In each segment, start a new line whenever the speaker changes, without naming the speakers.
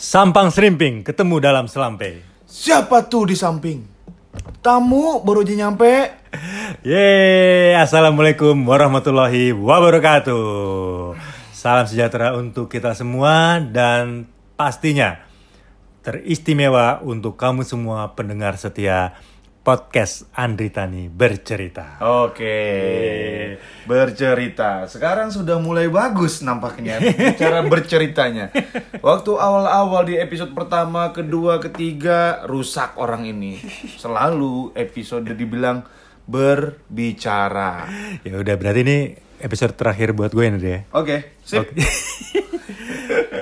Sampang Serimping ketemu dalam selampe.
Siapa tuh di samping? Tamu baru aja nyampe.
Yeay, Assalamualaikum warahmatullahi wabarakatuh. Salam sejahtera untuk kita semua dan pastinya teristimewa untuk kamu semua pendengar setia podcast Andri Tani bercerita.
Oke. Bercerita. Sekarang sudah mulai bagus nampaknya cara berceritanya. Waktu awal-awal di episode pertama, kedua, ketiga rusak orang ini. Selalu episode dibilang berbicara.
Ya udah berarti ini episode terakhir buat gue ini ya.
Oke, sip.
Oke.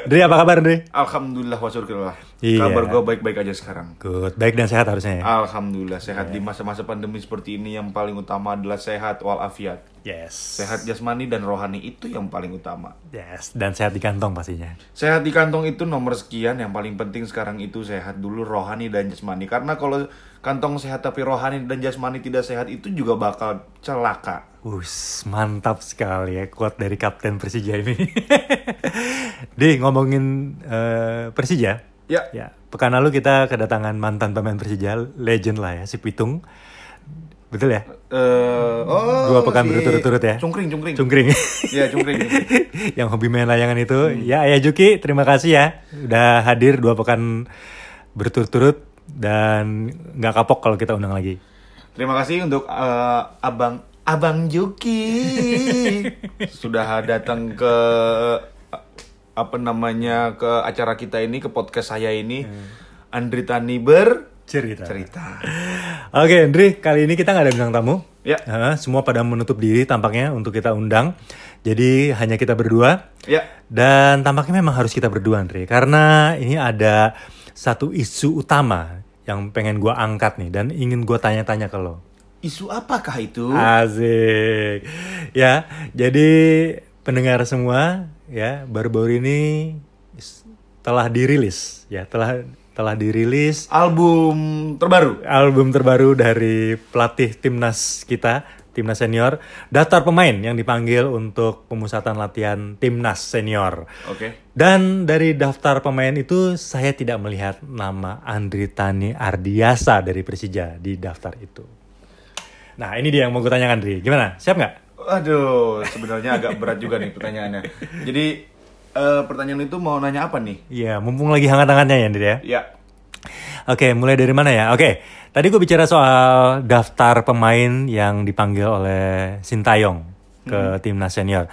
Dri apa kabar Dri?
Alhamdulillah wa syukurillah.
Iya.
Kabar gue baik-baik aja sekarang.
Good, baik dan sehat harusnya ya.
Ah, Alhamdulillah sehat
Iya.
di masa-masa pandemi seperti ini yang paling utama adalah sehat walafiat.
Yes.
Sehat jasmani dan rohani itu yang paling utama.
Yes, dan sehat di kantong pastinya.
Sehat di kantong itu nomor sekian yang paling penting sekarang itu sehat dulu rohani dan jasmani karena kalau kantong sehat tapi rohani dan jasmani tidak sehat itu juga bakal celaka.
Us, mantap sekali ya kuat dari kapten Persija ini. Di ngomongin eh, Persija,
Ya.
ya pekan lalu kita kedatangan mantan pemain Persija, legend lah ya, si Pitung. Betul ya?
Eh, oh,
Dua pekan
si
berturut-turut ya.
Cungkring, cungkring.
Cungkring.
Iya, cungkring. cungkring.
Yang hobi main layangan itu. Ya, Ayah Juki, terima kasih ya udah hadir dua pekan berturut-turut dan nggak kapok kalau kita undang lagi.
Terima kasih untuk eh, Abang Abang Juki sudah datang ke eh, apa namanya ke acara kita ini ke podcast saya ini.
Hmm.
Andri Tani bercerita.
Cerita. Oke, Andri, kali ini kita nggak ada bintang tamu.
Ya.
Eh, semua pada menutup diri tampaknya untuk kita undang. Jadi hanya kita berdua.
Ya.
Dan tampaknya memang harus kita berdua, Andri, karena ini ada satu isu utama yang pengen gua angkat nih dan ingin gua tanya-tanya ke lo.
Isu apakah itu?
Ah. Asik. Ya, jadi pendengar semua ya, baru-baru ini is- telah dirilis ya, telah telah dirilis
Album terbaru.
album terbaru dari pelatih timnas kita, timnas senior, daftar pemain yang dipanggil untuk pemusatan latihan timnas senior.
Oke.
Dan dari daftar pemain itu saya tidak melihat nama Andri Tani Ardiasa dari Persija di daftar itu. Nah ini dia yang mau gue tanyakan Andri, gimana? Siap nggak?
Aduh, sebenarnya agak berat juga nih pertanyaannya. Jadi eh, pertanyaan itu mau nanya apa nih?
Iya, mumpung lagi hangat-hangatnya ya Andri ya.
Ya.
Oke, mulai dari mana ya? Oke, tadi gue bicara soal daftar pemain yang dipanggil oleh Sintayong ke timnas senior.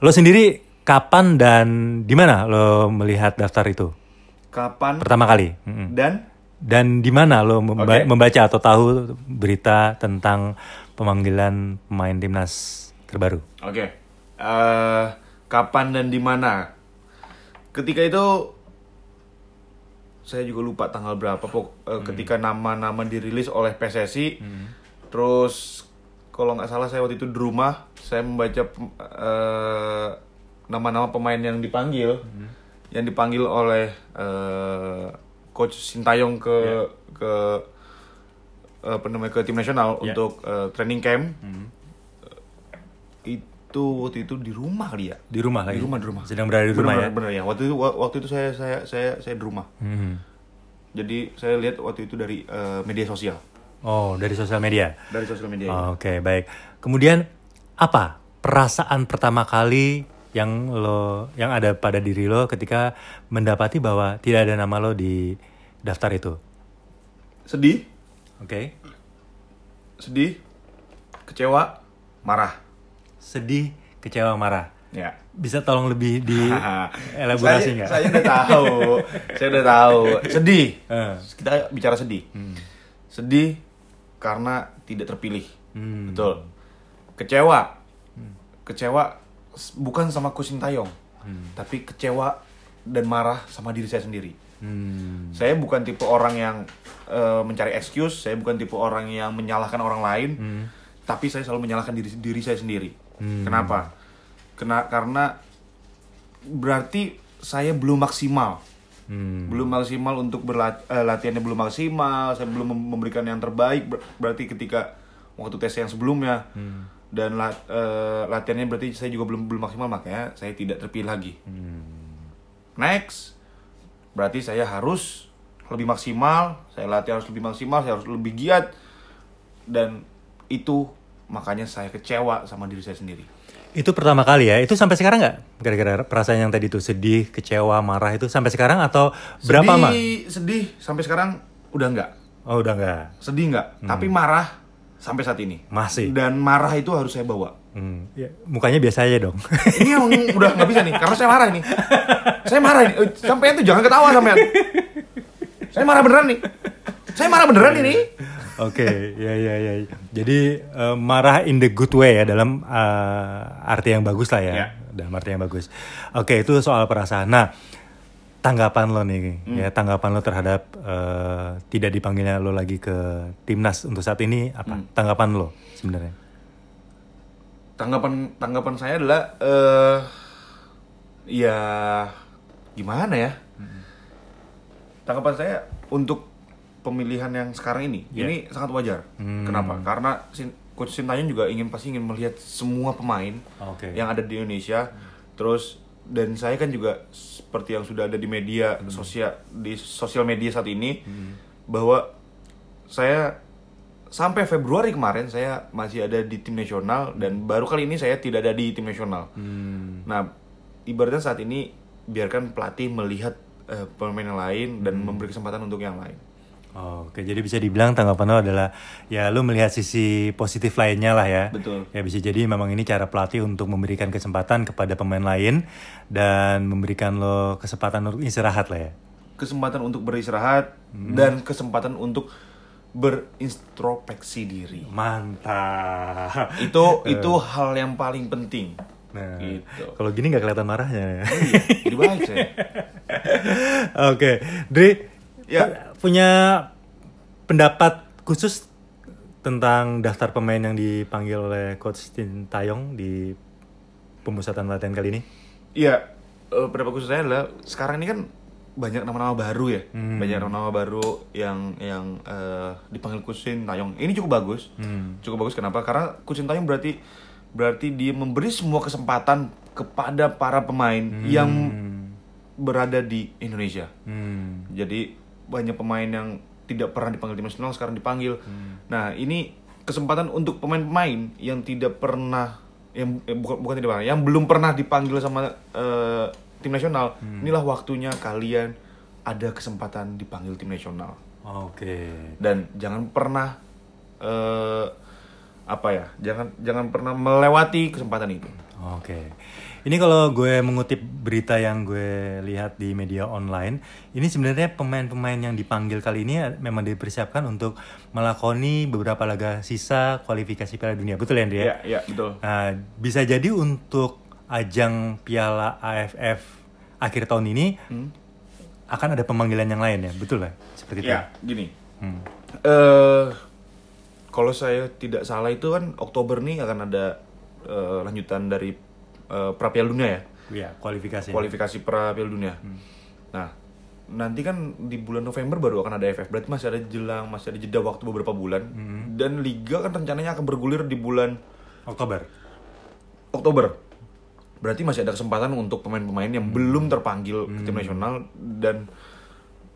Lo sendiri kapan dan di mana lo melihat daftar itu
Kapan
pertama kali? Mm-mm.
dan
Dan di mana lo memba-
Oke.
membaca atau tahu berita tentang pemanggilan pemain timnas terbaru?
Oke. Eh, kapan dan di mana? Ketika itu saya juga lupa tanggal berapa pok- eh, ketika nama-nama dirilis oleh PSSI. Terus kalau nggak salah saya waktu itu di rumah saya membaca pem- eh, nama-nama pemain yang dipanggil. Yang dipanggil oleh eh, coach Sintayong ke ke eh, apa namanya ke tim nasional untuk eh, training camp itu waktu itu di rumah kali ya
Di rumah lagi?
Di rumah, di rumah.
Sedang berada di rumah ya?
bener, bener ya waktu itu wa- waktu itu saya saya saya saya di rumah
Mm.
jadi saya lihat waktu itu dari eh, media sosial
Oh, dari sosial media?
dari sosial media
Oke, baik. Kemudian apa perasaan pertama kali yang lo yang ada pada diri lo ketika mendapati bahwa tidak ada nama lo di daftar itu?
sedih
Oke.
sedih kecewa marah
Sedih, kecewa, marah.
ya
Bisa tolong lebih di elaborasi
saya,
nggak?
saya udah tahu saya udah tahu sedih
Eh.
kita bicara sedih sedih karena tidak terpilih
Hmm.
betul kecewa kecewa s- bukan sama kusintayong tapi kecewa dan marah sama diri saya sendiri
Hmm.
saya bukan tipe orang yang eh, mencari excuse saya bukan tipe orang yang menyalahkan orang lain tapi saya selalu menyalahkan diri diri saya sendiri kenapa Kena, karena berarti saya belum maksimal
Hmm.
belum maksimal untuk berlat eh, latihannya belum maksimal saya belum mem- memberikan yang terbaik Ber- berarti ketika waktu tes yang sebelumnya dan la- eh, latihannya berarti saya juga belum belum maksimal makanya saya tidak terpilih lagi next berarti saya harus lebih maksimal, saya latihan harus lebih maksimal, saya harus lebih giat dan itu makanya saya kecewa sama diri saya sendiri.
Itu pertama kali ya. Itu sampai sekarang nggak? Gara-gara perasaan yang tadi itu sedih, kecewa, marah itu sampai sekarang atau berapa
sedih,
lama?
Sedih sampai sekarang udah nggak,
Oh udah nggak.
sedih nggak, tapi marah sampai saat ini
Hmm. Masih.
Dan marah itu harus saya bawa.
Hmm. Ya, mukanya biasa aja dong.
ini yang udah nggak bisa nih karena saya marah ini saya marah ini Eh, sampean tuh jangan ketawa sampean saya marah beneran nih saya marah beneran ini
Oke, ya ya ya. Jadi eh, marah in the good way ya dalam eh, arti yang bagus lah ya,
Ya.
dalam arti yang bagus. Oke, itu soal perasaan. Nah, tanggapan lo nih, ya tanggapan lo terhadap eh, tidak dipanggilnya lo lagi ke timnas untuk saat ini apa? Tanggapan lo sebenarnya?
tanggapan tanggapan saya adalah eh ya gimana ya tanggapan saya untuk pemilihan yang sekarang ini
Ya.
ini sangat wajar kenapa karena Sin- coach sintayong juga ingin pasti ingin melihat semua pemain
Oke.
yang ada di Indonesia terus dan saya kan juga seperti yang sudah ada di media sosial di sosial media saat ini bahwa saya sampai Februari kemarin saya masih ada di tim nasional dan baru kali ini saya tidak ada di tim nasional. Nah, ibaratnya saat ini biarkan pelatih melihat eh, pemain yang lain dan memberi kesempatan untuk yang lain.
Oke, jadi bisa dibilang tanggapan lo adalah ya lo melihat sisi positif lainnya lah ya.
Betul.
Ya bisa jadi memang ini cara pelatih untuk memberikan kesempatan kepada pemain lain dan memberikan lo kesempatan untuk istirahat lah ya.
Kesempatan untuk beristirahat dan kesempatan untuk berintrospeksi diri.
Mantap.
itu itu hal yang paling penting
Nah,
gitu Iya,
kalau gini nggak kelihatan marahnya ya.
jadi baik saya
Oke, Dri
Ya.
pu- punya pendapat khusus tentang daftar pemain yang dipanggil oleh coach Tintayong di pemusatan latihan kali ini?
iya eh, pendapat khusus saya adalah sekarang ini kan banyak nama-nama baru ya banyak nama-nama baru yang yang eh, dipanggil Kusin Tayong ini cukup bagus cukup bagus kenapa karena Kusin Tayong berarti berarti dia memberi semua kesempatan kepada para pemain yang berada di Indonesia
Hmm.
Jadi banyak pemain yang tidak pernah dipanggil tim nasional sekarang dipanggil. Nah, ini kesempatan untuk pemain-pemain yang tidak pernah yang eh, bukan bukan tidak pernah, yang belum pernah dipanggil sama eh, tim nasional. Inilah waktunya kalian ada kesempatan dipanggil tim nasional
Oke.
dan jangan pernah eh, apa ya? Jangan jangan pernah melewati kesempatan itu.
Oke. Ini kalau gue mengutip berita yang gue lihat di media online, ini sebenarnya pemain-pemain yang dipanggil kali ini eh, memang dipersiapkan untuk melakoni beberapa laga sisa kualifikasi Piala Dunia. Betul ya, Andrea?
Iya, iya, betul.
Nah, bisa jadi untuk ajang Piala AFF akhir tahun ini
Hmm.
akan ada pemanggilan yang lain ya, betul ya? Seperti itu.
Ya, gini.
Hmm.
eh kalau saya tidak salah itu kan Oktober nih akan ada eh, lanjutan dari eh, pra Piala Dunia ya,
Iya, Hmm. kualifikasi.
kualifikasi pra Piala Dunia. Nah, nanti kan di bulan November baru akan ada AFF. Berarti masih ada jelang, masih ada jeda waktu beberapa bulan.
Hmm.
Dan liga kan rencananya akan bergulir di bulan
Oktober.
Oktober. Berarti masih ada kesempatan untuk pemain-pemain yang
Hmm.
belum terpanggil ke tim nasional dan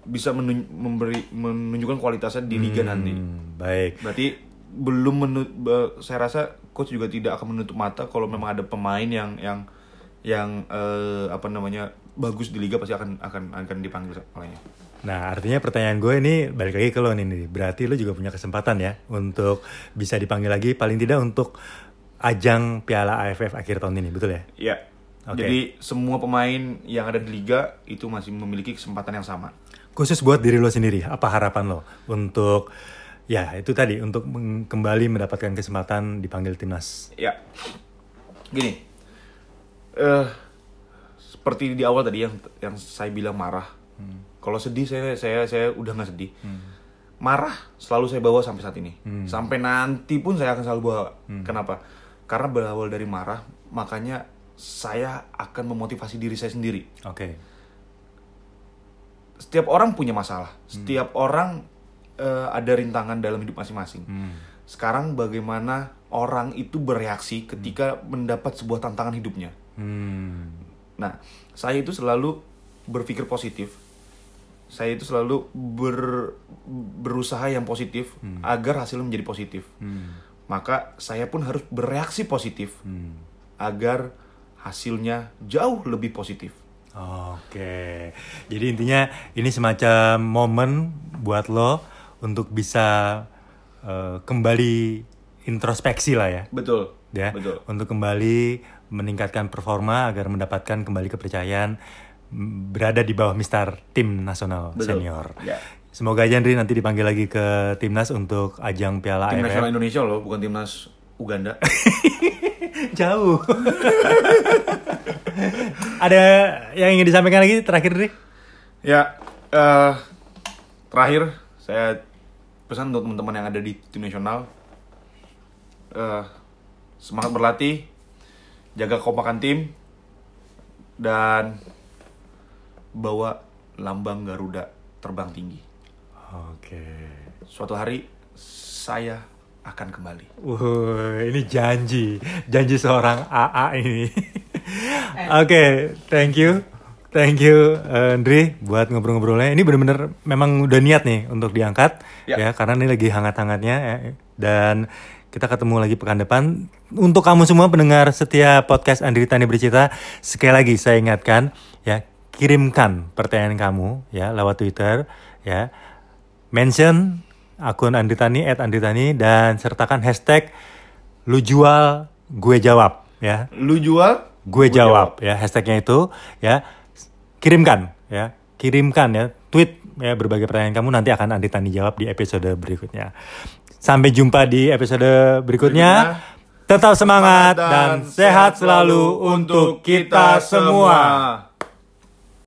bisa menun- memberi menunjukkan kualitasnya di liga nanti.
Hmm, baik.
Berarti belum menut be- saya rasa coach juga tidak akan menutup mata kalau memang ada pemain yang yang yang eh, apa namanya bagus di liga pasti akan akan akan dipanggil olehnya.
Nah, artinya pertanyaan gue ini balik lagi ke lo nih, Nidhi. Berarti lo juga punya kesempatan ya untuk bisa dipanggil lagi paling tidak untuk ajang Piala AFF akhir tahun ini, betul ya?
Iya.
Oke.
Jadi semua pemain yang ada di liga itu masih memiliki kesempatan yang sama.
Khusus buat diri lo sendiri, apa harapan lo untuk ya itu tadi untuk meng- kembali mendapatkan kesempatan dipanggil timnas?
Ya. Gini. Eh seperti di awal tadi yang yang saya bilang marah. Kalau sedih saya saya saya udah nggak sedih. Marah selalu saya bawa sampai saat ini. Sampai nanti pun saya akan selalu bawa. Kenapa? Karena berawal dari marah, makanya saya akan memotivasi diri saya sendiri.
Oke.
Setiap orang punya masalah. Setiap orang eh, ada rintangan dalam hidup masing-masing.
Hmm.
Sekarang bagaimana orang itu bereaksi ketika mendapat sebuah tantangan hidupnya?
Hmm.
Nah, saya itu selalu berpikir positif. saya itu selalu ber- berusaha yang positif
Hmm.
agar hasilnya menjadi positif. Maka saya pun harus bereaksi positif
Hmm.
agar hasilnya jauh lebih positif.
Oke, jadi intinya ini semacam momen buat lo untuk bisa eh, kembali introspeksi lah ya,
Betul.
ya,
Betul.
untuk kembali meningkatkan performa agar mendapatkan kembali kepercayaan m- berada di bawah mistar tim nasional
Betul.
senior.
Ya.
Semoga aja Andri nanti dipanggil lagi ke timnas untuk ajang Piala
Tim
AFF.
nasional Indonesia loh, bukan timnas Uganda.
Jauh. Ada yang ingin disampaikan lagi terakhir Andri?
Ya, eh terakhir saya pesan untuk teman-teman yang ada di tim nasional, eh, semangat berlatih, jaga kompakan tim, dan bawa lambang Garuda terbang tinggi.
Oke.
Suatu hari saya akan kembali.
Wuh, ini janji, janji seorang AA ini. Oke, thank you, thank you eh, Andri buat ngobrol-ngobrolnya. Ini bener-bener memang udah niat nih untuk diangkat ya,
Ya.
karena ini lagi hangat-hangatnya eh, dan kita ketemu lagi pekan depan. Untuk kamu semua pendengar setia podcast Andri Tani Bercerita, sekali lagi saya ingatkan ya kirimkan pertanyaan kamu ya lewat Twitter ya mention akun Andritani at Andritani dan sertakan hashtag lu jual gue jawab ya
Lu jual?
gue jawab ya hashtagnya itu ya kirimkan ya kirimkan ya tweet ya berbagai pertanyaan kamu nanti akan Andritani jawab di episode berikutnya sampai jumpa di episode berikutnya, tetap semangat dan sehat selalu untuk kita semua.